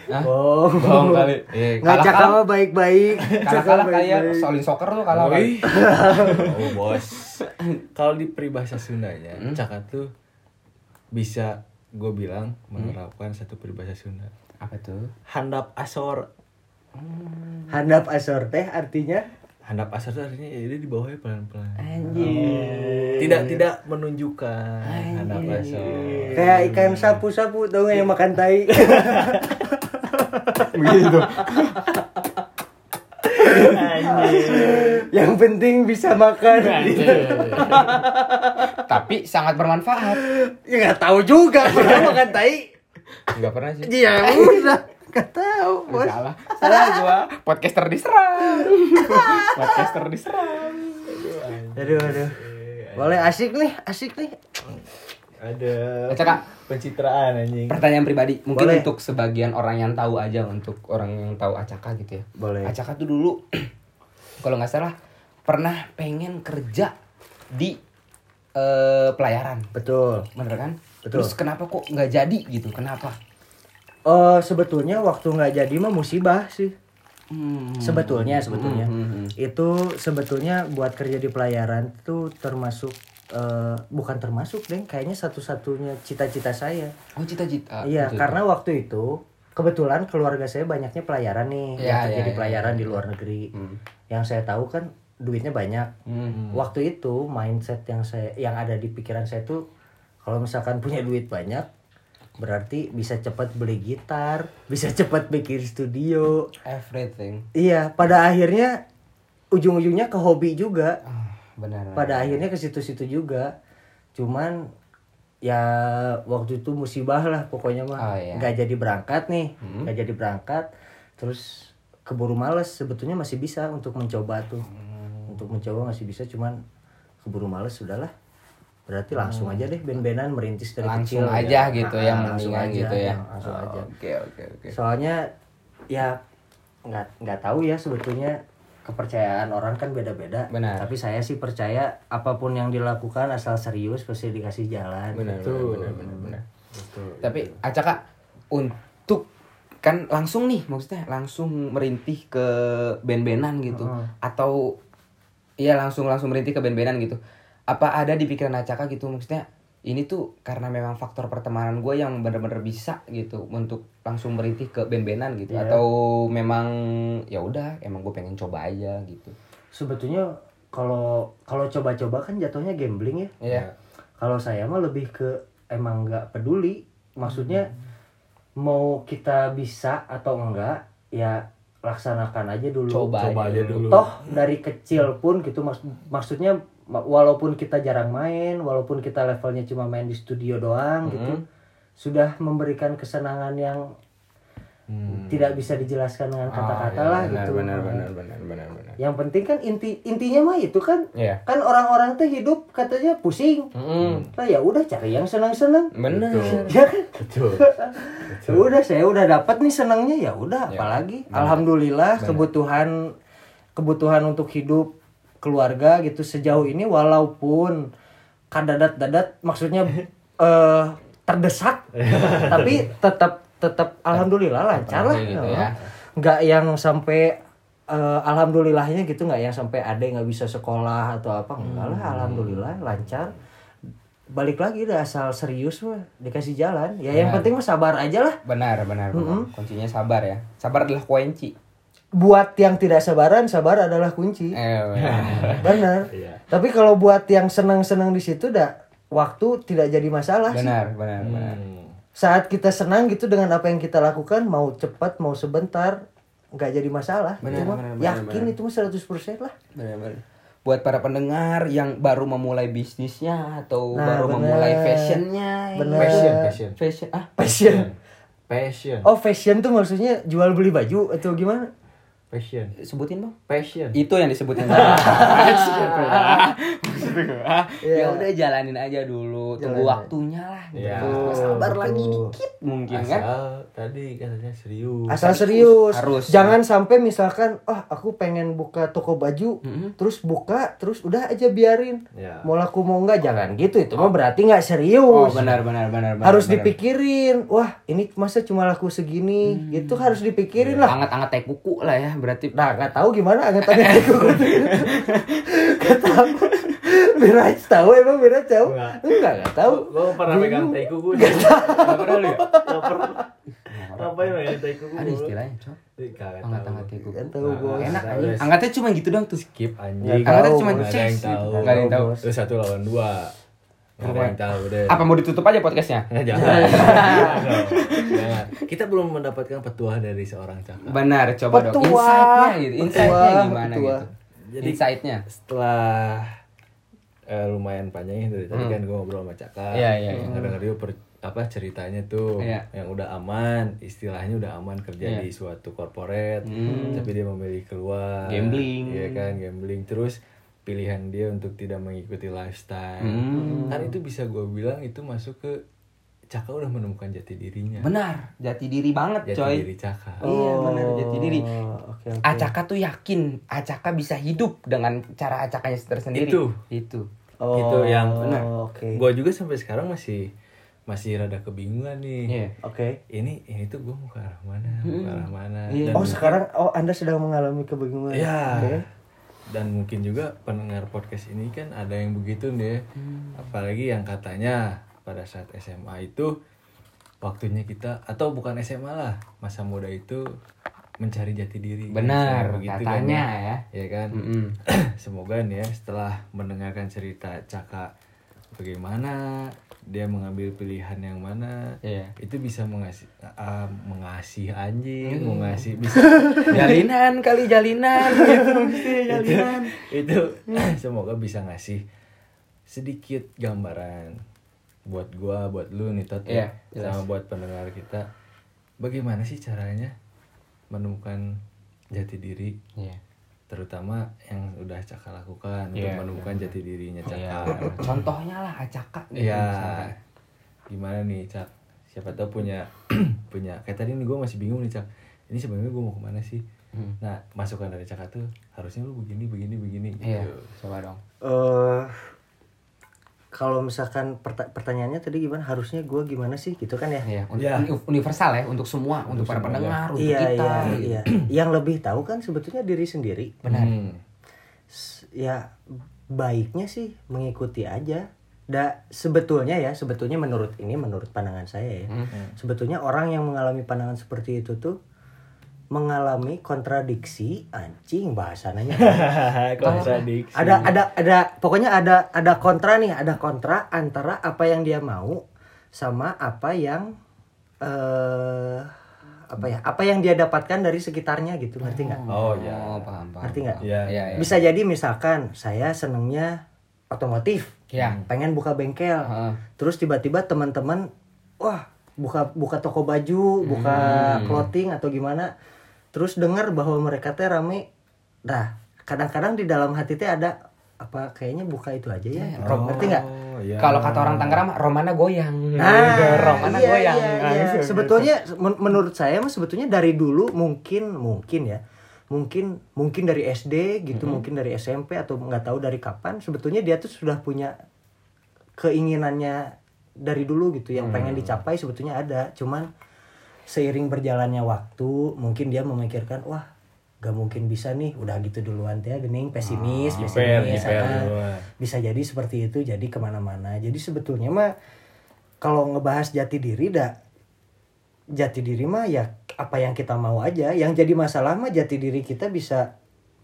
Hah? Bohong. Bohong <laughs> Iya, kali. Eh, Oh. Nggak Kalah-kalah. cakap mah <laughs> baik-baik. Kalah Cakap kalah kayak baik-baik. solin soccer tuh kalah. Kak. Wih. <laughs> Oh bos. Kalau di peribahasa Sundanya, Hmm. Caka tuh bisa gue bilang Hmm. menerapkan satu peribahasa Sunda. Apa tuh? Handap asor. Handap asor teh artinya Handap asor itu artinya ya dia di bawahnya pelan-pelan. Oh. anjir. Tidak tidak menunjukkan handap asor. Kayak ikan sapu-sapu tau gak yang makan tai <laughs> Begitu. Yang penting bisa makan Tapi sangat bermanfaat. Ya gak tau juga pernah makan tai Enggak pernah sih. Ya <laughs> udah Gak tau bos Salah. Salah gua. Podcaster diserang. Podcaster diserang. Aduh Iya, aduh Boleh asik nih asik nih Ada Baca kak. pencitraan anjing. Pertanyaan pribadi, mungkin Boleh. untuk sebagian orang yang tahu aja, untuk orang yang tahu Acaka gitu ya. Boleh. Acaka tuh dulu, <clears throat> kalau nggak salah, pernah pengen kerja di eh, pelayaran, Betul bener kan? Betul. Terus kenapa kok nggak jadi gitu? Kenapa? Eh Sebetulnya waktu gak jadi mah musibah sih Hmm. Sebetulnya sebetulnya Hmm, hmm, hmm. Itu sebetulnya buat kerja di pelayaran tuh termasuk eh, Bukan termasuk deng Kayaknya satu-satunya cita-cita saya Oh cita-cita. Iya, Gitu. karena waktu itu kebetulan keluarga saya banyaknya pelayaran Iya, nih, yang kerja iya, di iya, pelayaran di luar negeri. Yang saya tahu kan duitnya banyak. Hmm. Waktu itu mindset yang saya yang ada di pikiran saya tuh kalau misalkan punya duit banyak berarti bisa cepat beli gitar, <laughs> bisa cepat bikin studio. Everything. Iya, pada akhirnya ujung-ujungnya ke hobi juga Ah, benar. pada akhirnya ke situ-situ juga cuman ya waktu itu musibah lah pokoknya mah Oh, iya. Hmm. nggak jadi berangkat nih nggak jadi berangkat terus keburu males sebetulnya masih bisa untuk mencoba tuh Hmm. untuk mencoba masih bisa cuman keburu males sudahlah berarti langsung aja deh ben-benan merintis dari Hmm. langsung kecil Ah, aja gitu ya, langsung mendingan aja, gitu ya. langsung Oh, aja Oke oke oke. soalnya ya nggak nggak tahu ya sebetulnya kepercayaan orang kan beda-beda Benar. tapi saya sih percaya apapun yang dilakukan asal serius pasti dikasih jalan Benar, gitu. benar, benar, benar, benar. Tapi Acaka untuk kan langsung nih maksudnya langsung merintih ke ben-benan gitu atau iya langsung langsung merintih ke ben-benan gitu. Apa ada di pikiran Acaka gitu maksudnya ini tuh karena memang faktor pertemanan gue yang bener-bener bisa gitu untuk langsung merintih ke ben-benan gitu Iya. atau memang ya udah emang gue pengen coba aja gitu. sebetulnya kalau kalau coba-coba kan jatuhnya gambling ya Iya. kalau saya mah lebih ke emang nggak Hmm. peduli maksudnya mau kita bisa atau enggak ya laksanakan aja dulu Coba, Coba aja dulu. toh dari kecil pun gitu mas maksudnya ma- walaupun kita jarang main walaupun kita levelnya cuma main di studio Hmm. doang gitu sudah memberikan kesenangan yang Hmm. tidak bisa dijelaskan dengan kata-kata Ah, lah Hmm. Ah, iya, benar, gitu benar benar benar benar benar yang penting kan inti intinya mah itu kan Iya. Hmm. kan orang-orang tuh hidup katanya pusing Mm-mm. lah ya udah cari yang senang-senang <laughs> benar ya kan <laughs> betul Ya udah saya udah dapat nih senangnya ya udah apalagi alhamdulillah kebutuhan kebutuhan untuk hidup keluarga gitu sejauh ini walaupun kadadat dadat maksudnya eh terdesak tapi tetap tetap alhamdulillah lancar lah gitu ya. nggak yang sampai eh, alhamdulillahnya gitu nggak yang sampai ada yang nggak bisa sekolah atau apa enggak lah alhamdulillah lancar balik lagi udah asal serius mah dikasih jalan ya yang penting mah sabar aja lah benar benar, benar. kuncinya sabar ya sabar adalah kunci buat yang tidak sabaran sabar adalah kunci eh, <laughs> benar Iya. tapi kalau buat yang senang senang di situ dah waktu tidak jadi masalah sih. benar benar benar Hmm. saat kita senang gitu dengan apa yang kita lakukan mau cepat mau sebentar nggak jadi masalah Benar, Itu mah benar, benar, yakin itu mah 100% lah Benar-benar. Buat para pendengar yang baru memulai bisnisnya atau Nah, baru bener. memulai fashionnya, Bener. Passion, passion. fashion ah passion Passion. oh fashion tuh maksudnya jual beli baju atau gimana Passion. Iya, sebutin bang. Passion. Itu yang disebutin. Ya udah jalanin aja dulu, tunggu Iya. Jalanin. waktunya lah. gitu. Iya. Sabar lagi dikit mungkin kan. Asal tadi katanya serius. asal serius Harus. jangan sampai misalkan oh aku pengen buka toko baju terus buka terus udah aja biarin Ya. mau laku mau nggak jangan gitu itu mah berarti nggak serius Oh benar benar benar. benar, harus benar. dipikirin wah ini masa cuma laku segini itu harus Ya. dipikirin lah Angat-angat teh kuku lah ya berarti. nah nggak tahu gimana agak <laughs> tanya aku nggak tahu Miraj tahu emang Miraj tahu Nggak. enggak nggak tahu Gue pernah pegang Bingung. taiku gue. Gak pernah lu ya? Gak pernah. Ngapain pegang taiku gue? Ada Oh, istilahnya, Cok. Angat-angat teh kuku. Nggak tahu, bos. Enak Nggak anjing. tahu. Angatnya cuma gitu doang tuh skip. Nah, Anjing. Nggak Angatnya tahu, cuma Nggak ada yang cek. tahu. Enggak ada yang tahu. Terus satu lawan dua. Gak ada yang tahu deh. Apa mau ditutup aja podcastnya? Jangan. Jangan. Jangan. Kita belum mendapatkan petua dari seorang cakap. Nah. Benar, coba dong. Petua. Insight-nya gitu. Insight-nya Petua, gimana petua. gitu. Insight-nya. setelah eh, lumayan panjang ya dari tadi kan gue ngobrol sama Caka Hmm. Iya, iya, iya. Yang kadang-kadang dia per- apa ceritanya tuh Iya. yang udah aman istilahnya udah aman kerja Iya. Hmm. di suatu korporat tapi dia memilih keluar Gambling. ya kan gambling terus pilihan dia untuk tidak mengikuti lifestyle Hmm. kan itu bisa gue bilang itu masuk ke Caka udah menemukan jati dirinya Benar, jati diri banget, jati coy. diri Caka Iya, benar jati diri. oke, oke. Acaka tuh yakin Acaka bisa hidup dengan cara Acakanya tersendiri. Itu. Itu. Oh, gitu yang oke Iya. gue juga sampai sekarang masih masih rada kebingungan nih Iya. oke ini ini tuh gue mau ke arah mana mau ke arah mana Iya. dan, Oh sekarang oh Anda sedang mengalami kebingungan. ya Oke. dan mungkin juga pendengar podcast ini kan ada yang begitu nih Hmm. apalagi yang katanya pada saat SMA itu waktunya kita atau bukan SMA lah masa muda itu mencari jati diri Misalnya Benar, begitu kan katanya ya. ya kan Mm-mm. <clears throat> semoga nih ya setelah mendengarkan cerita Caka bagaimana dia mengambil pilihan yang mana Iya. itu bisa mengasih ah, mengasih anjing Hmm. mengasih <laughs> bisa jalinan kali <laughs> jalinan Iya, gitu mesti itu, jalinan. <laughs> itu <clears throat> semoga bisa ngasih sedikit gambaran buat gua buat lu nih Tot ya, Iya, jelas. sama buat pendengar kita bagaimana sih caranya menemukan jati diri Iya. terutama yang udah Caka lakukan untuk Iya. menemukan jati dirinya Caka. Contohnya lah Acaka gitu. Iya. misalkan. Gimana nih Cak? Siapa tahu punya <clears throat> punya kayak tadi nih gue masih bingung nih Cak. Ini sebenarnya gue mau kemana sih? Hmm. Nah masukan dari Caka tuh harusnya lu begini begini begini. Iya, gitu. coba dong. Eh, kalau misalkan perta- pertanyaannya tadi gimana harusnya gua gimana sih gitu kan ya? Iya, un- Iya. uni- universal ya untuk semua, untuk, para semua, pendengar, untuk Iya kita. gitu. iya iya. Yang lebih tahu kan sebetulnya diri sendiri. Hmm. S- Ya baiknya sih mengikuti aja. Da, sebetulnya ya sebetulnya menurut ini menurut pandangan saya ya. Hmm. Sebetulnya orang yang mengalami pandangan seperti itu tuh mengalami kontradiksi <laughs> anjing bahasannya. Kontradiksi. ada ada ada pokoknya ada ada kontra nih ada kontra antara apa yang dia mau sama apa yang eh apa ya apa yang dia dapatkan dari sekitarnya gitu ngerti nggak Oh ya. Oh, paham, paham. Ngerti nggak? paham. Iya. Iya, iya. bisa jadi misalkan saya senengnya otomotif Iya. pengen buka bengkel Heeh. terus tiba-tiba teman-teman wah buka buka toko baju buka clothing atau gimana terus dengar bahwa mereka teh rame dah kadang-kadang di dalam hati teh ada apa kayaknya buka itu aja ya Rob, ngerti nggak Oh, iya. Kalau kata orang Tangerang, mah, romana goyang. Nah, gitu. romana Nah, iya, goyang. iya, iya. Langsung gitu. Sebetulnya men- menurut saya mah sebetulnya dari dulu mungkin mungkin ya. Mungkin mungkin dari SD gitu, mungkin dari SMP atau nggak tahu dari kapan sebetulnya dia tuh sudah punya keinginannya dari dulu gitu yang pengen Mm. dicapai sebetulnya ada. Cuman seiring berjalannya waktu mungkin dia memikirkan wah gak mungkin bisa nih udah gitu duluan teh gening pesimis jiper, iya, pesimis jiper ah. Oh. duluan. bisa jadi seperti itu jadi kemana-mana jadi sebetulnya mah kalau ngebahas jati diri dah jati diri mah ya apa yang kita mau aja yang jadi masalah mah jati diri kita bisa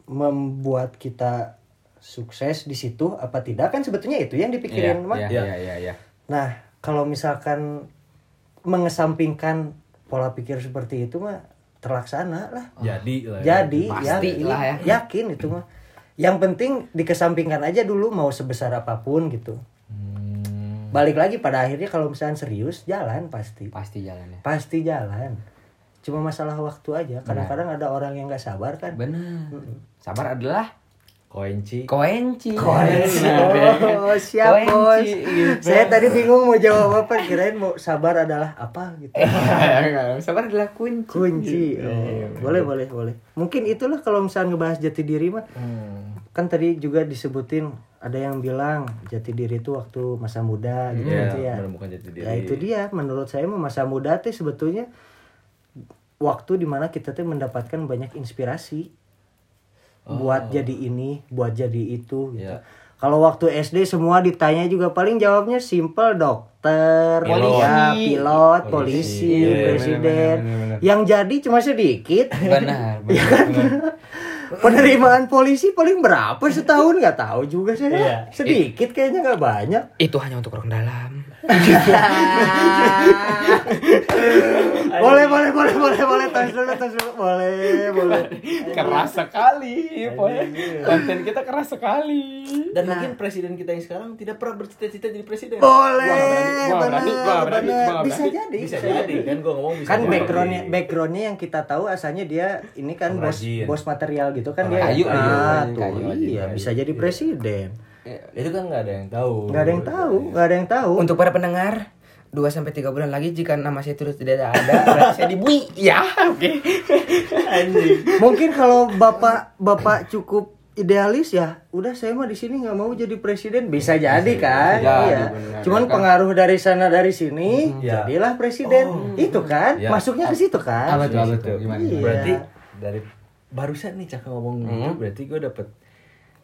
membuat kita sukses di situ apa tidak kan sebetulnya itu yang Iya, dipikirin mah iya, iya, iya, iya. Nah, kalau misalkan mengesampingkan pola pikir seperti itu mah terlaksana lah. Jadi lah. ya. Jadi iya. Pasti yakin, lah ya. yakin itu mah. Yang penting dikesampingkan aja dulu mau sebesar apapun gitu. Hmm. Balik lagi pada akhirnya kalau misalkan serius jalan pasti. Pasti jalannya. Pasti jalan. Cuma masalah waktu aja. Kadang-kadang Nah. ada orang yang gak sabar kan. Benar. Sabar adalah Koenci. koenci. <laughs> Koenci. Benar. Oh, siap, Koenci, Bos. gitu. Saya tadi bingung mau jawab apa, kirain mau sabar adalah apa gitu. Eh. <laughs> Sabar adalah iya, kunci. kunci Iya, Oh, boleh boleh boleh mungkin itulah kalau misalnya ngebahas jati diri mah Hmm. kan tadi juga disebutin ada yang bilang jati diri itu waktu masa muda gitu Iya, gitu ya menemukan jati diri. ya itu dia menurut saya mah masa muda teh sebetulnya waktu dimana kita teh mendapatkan banyak inspirasi buat jadi ini buat jadi itu gitu Oh. Iya. kalau waktu SD semua ditanya juga paling jawabnya simple dokter Pilot. ya, pilot Polisi. polisi, Iya, bener, presiden bener, bener, bener. yang jadi cuma sedikit <laughs> Benar, Iya. benar. penerimaan polisi paling berapa setahun nggak tahu juga saya Iya. sedikit kayaknya nggak banyak Itu hanya untuk orang dalam. boleh boleh boleh boleh boleh tas dulu tas dulu boleh boleh keras sekali. Pokoknya Konten kita keras sekali. Dan Nah. mungkin presiden kita yang sekarang tidak pernah bercita-cita jadi presiden. Oh. boleh Wah, berani, wah, benar berani, benar wah, bisa berani. jadi Bisa jadi kan gua ngomong bisa. kan jadi. backgroundnya backgroundnya yang kita tahu asalnya dia ini kan bos Pengrajin. bos material gitu kan Oh, dia Kayu, ah, kayu, tuh, kayu, iya bisa jadi presiden Itu kan nggak ada yang tahu. nggak ada Oh, yang tahu iya. nggak ada yang tahu Untuk para pendengar, 2 sampai 3 bulan lagi jika nama saya terus tidak ada, <laughs> berarti saya dibui. Ya, Iya, oke. mungkin kalau bapak bapak cukup idealis ya udah saya mah di sini nggak mau jadi presiden bisa jadi kan jadi, iya benar. ya kan? Mm-hmm. cuman pengaruh dari sana dari sini Iya. jadilah presiden itu kan Iya. masuknya ke situ kan Oh. Ya. Apa tuh, apa tuh? Nah, Gimana? Gimana? Iya. Berarti dari barusan nih Caka ngomong gitu, berarti gue dapet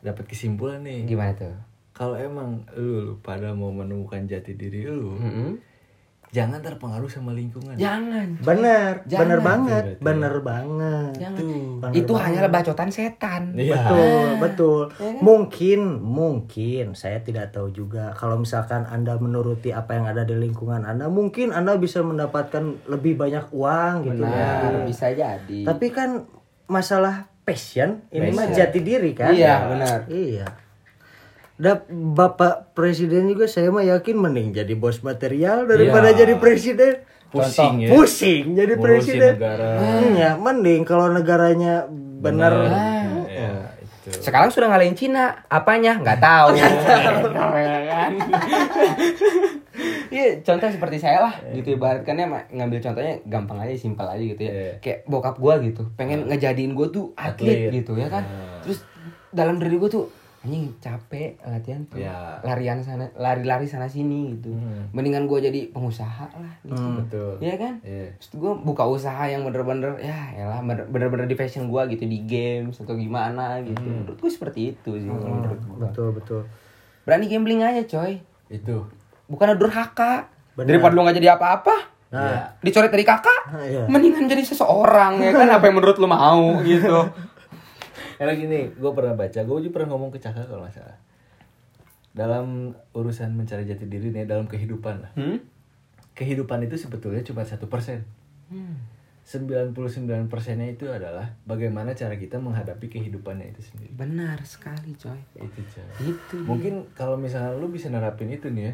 dapat kesimpulan nih. Gimana tuh? Kalau emang lu, lu pada mau menemukan jati diri lu, jangan terpengaruh sama lingkungan. Jangan. bener Jangan. bener banget bener banget Jangan. Bener Itu banget. hanyalah bacotan setan. Iya. Betul, betul. Mungkin, mungkin saya tidak tahu juga. Kalau misalkan Anda menuruti apa yang ada di lingkungan Anda, mungkin Anda bisa mendapatkan lebih banyak uang gitu Benar, ya. bisa jadi. Tapi kan masalah passion ini mah Passion. jati diri kan? Iya, benar. Iya. Da, Bapak Presiden juga saya mah yakin mending jadi bos material daripada Iya. jadi presiden. Pusing ya. Pusing jadi Ngurusin presiden. negara. Hmm, ya, mending kalau negaranya benar. Iya, itu. Sekarang sudah ngalahin Cina, apanya? Nggak tahu. <laughs> Iya, contoh seperti saya lah, Iya. gitu ibaratkannya ma- ngambil contohnya gampang aja, simpel aja gitu ya. Iya. Kayak bokap gua gitu, pengen ngejadiin gua tuh atlet, Atlet. gitu ya kan. Nah. Terus dalam diri gua tuh anjing capek latihan tuh, Iya. larian sana, lari-lari sana sini gitu. Hmm. Mendingan gua jadi pengusaha lah, gitu. Betul. Iya kan? Iya. Terus gue buka usaha yang bener-bener ya elah bener- bener-bener di passion gue gitu di games atau gimana gitu. Menurut gue seperti itu sih kalau menurut gue. Betul, betul. Berani gambling aja coy. Itu. Bukan durhaka. Bener. Daripada lu gak jadi apa-apa. Iya. Nah, Dicoret dari kakak. Ah, iya. Mendingan jadi seseorang ya kan apa yang menurut lu mau <laughs> gitu. Karena gini, gue pernah baca, gue juga pernah ngomong ke Caka kalau nggak salah. Dalam urusan mencari jati diri nih, dalam kehidupan lah. Hmm? Kehidupan itu sebetulnya cuma satu persen. 99 persennya itu adalah bagaimana cara kita menghadapi kehidupannya itu sendiri. Benar sekali coy. Gitu. Itu coy. Itu. Mungkin kalau misalnya lu bisa nerapin itu nih ya,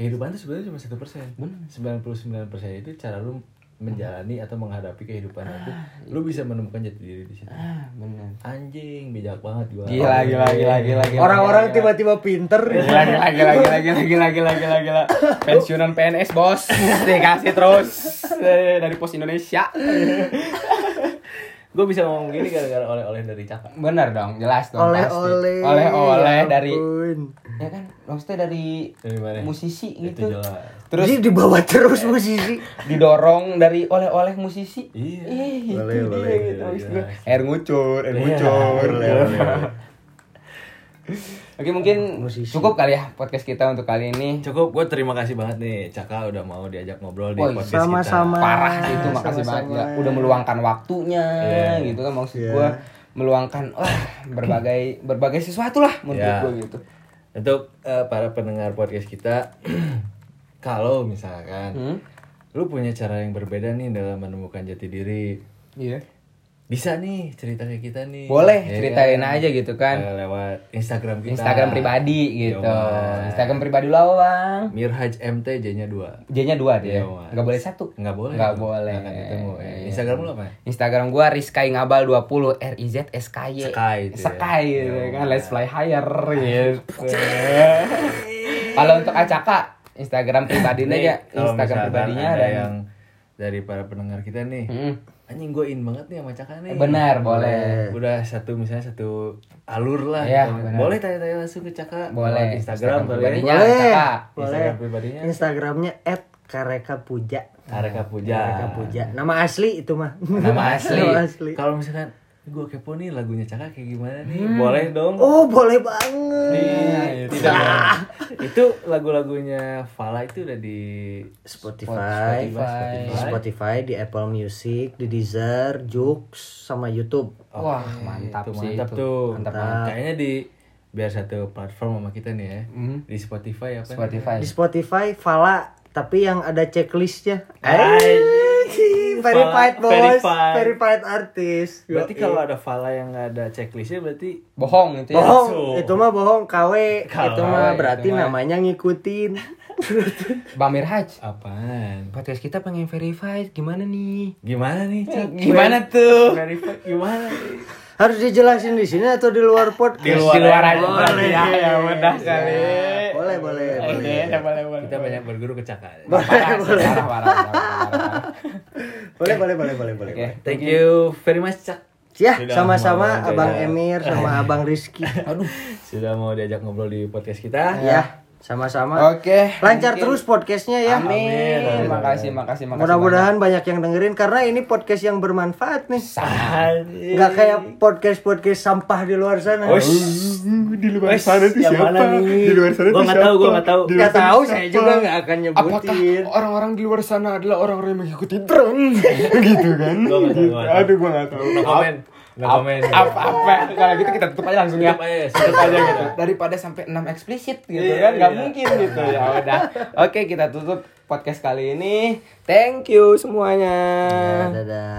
kehidupan itu sebenarnya cuma satu persen. Hmm. Benar. 99 persen itu cara lu menjalani atau menghadapi kehidupan itu, lu iya. bisa menemukan jati diri di situ. Ah, benar. Oh, iya, Anjing, bijak banget gua. Oh, iya. Gila, gila, gila, gila, gila. Orang-orang gila, tiba-tiba pinter. Gila, gila, gila, gila, gila, gila, gila, gila, gila. Pensiunan PNS, <laughs> bos. Dikasih terus. Eh, Dari pos Indonesia. Gue bisa ngomong gini gara-gara oleh-oleh dari Caka. Bener dong, jelas dong. pasti. Oleh-oleh. Oleh-oleh Ya dari... ampun. Ya kan, maksudnya dari Dari mana? musisi Eh, Itu gitu. jelas. Terus Jadi dibawa terus musisi. didorong dari oleh-oleh musisi. Iya. Ih, itu Oleh, dia oleh, <laughs> gitu. iya, Habis iya. itu Air ngucur, air Iya, ngucur. oleh, oleh. Oke, mungkin Musisi. cukup kali ya podcast kita untuk kali ini. Cukup, gue terima kasih banget nih Caka udah mau diajak ngobrol di Woi, podcast Sama-sama. parah sih itu makasih Sama-sama. banget gila. udah meluangkan waktunya Ah, Iya. gitu kan maksud Iya. gua meluangkan wah berbagai berbagai sesuatu lah menurut Iya. gua gitu kita. Untuk eh, para pendengar podcast kita, <clears throat> kalau misalkan Hmm? lu punya cara yang berbeda nih dalam menemukan jati diri, iya bisa nih cerita ke kita nih. boleh Ya ceritain kan? aja gitu kan Eh, lewat Instagram kita. Iya, Instagram pribadi gitu Yoman. Instagram pribadi lu apa bang Mirhaj MT J-nya 2. J nya dua dia Yoman. nggak boleh satu Nggak boleh. nggak dong. boleh Nggak akan ketemu. ya. Instagram lu apa? Instagram gua Rizkai Ngabal 20 R I Z S K Y Sky itu ya. Sky gitu Yoman. kan Let's Fly Higher gitu. <laughs> Kalau untuk Acaka Instagram pribadinya Nih, ya kalau Instagram misalkan pribadinya ada dan yang dari para pendengar kita nih. Mm. Anjing gue in banget nih sama Caka nih. benar boleh Udah satu misalnya satu alur lah. Iya, gitu. benar. boleh tanya-tanya langsung ke Caka. Boleh. Lewat Instagram, ya. Instagram boleh. pribadinya. Caka. Boleh. Iya, Instagram pribadinya. Instagramnya @karekapuja. Kareka Puja. Karekapuja. Nama asli itu mah. Ya. <laughs> Nama asli. Nama asli. Kalau misalkan gue kepo nih lagunya Caka kayak gimana nih? Hmm. Boleh dong. Oh, boleh banget. Iya, <laughs> itu. itu lagu-lagunya Fala itu udah di Spotify, Spotify. di Spotify, di Apple Music, di Deezer, Joox, sama YouTube. wah mantap Oh, itu sih mantap itu. tuh. Mantap, Kayaknya di biar satu platform sama kita nih ya. Di Spotify apa? Spotify Di Spotify Fala, tapi yang ada checklistnya. Ay. Anjing, verified bos, Verified. verified artis. Berarti kalau ada Fala yang nggak ada checklistnya berarti bohong itu ya bohong, Langsung. itu mah bohong, KW, itu mah KW, berarti itu mah. namanya ngikutin. <laughs> Bang Mirhaj apaan? podcast kita pengen verified gimana nih Gimana nih? Cak? Gimana tuh? Verified gimana? nih? Harus dijelasin di sini atau di luar podcast? di luar aja Boleh. ya, ya udah kali Boleh, boleh, boleh. Eh, Oke, ya, boleh boleh Iya. Kita banyak berguru ke Caka. Parah sih, parah, parah, parah, <laughs> parah. Boleh, boleh, boleh, boleh, boleh. Oke. Thank you very much Cak. Ya, Sudah, sama-sama mau- Abang ya. Emir <laughs> sama Abang Rizky. Aduh, sudah mau diajak ngobrol di podcast kita. ya, sama-sama. Oke. Lancar mungkin- terus podcastnya ya. Iya. Amin. Makasih, makasih, makasih. Mudah-mudahan banyak yang dengerin karena ini podcast yang bermanfaat nih. Anjing. Nggak kayak podcast-podcast sampah di luar sana. di luar sana itu yang siapa? mana nih? Di luar sana Gua itu nggak tahu, siapa? gua nggak tahu. Di luar Nggak sana tahu itu saya <laughs> siapa? juga nggak akan nyebutin. orang-orang di luar sana adalah orang-orang yang mengikuti tren gitu kan? Gua nggak tahu, gua nggak tahu. Aduh gua nggak tahu. No comment. No comment. apa apa kalau gitu kita tutup aja langsung ya. Tutup aja, tutup aja gitu. <laughs> Daripada sampai 6 eksplisit gitu Iya, kan nggak iya. mungkin gitu ya udah. Oke, kita tutup podcast kali ini. Thank you semuanya. Iya, Ya, dadah.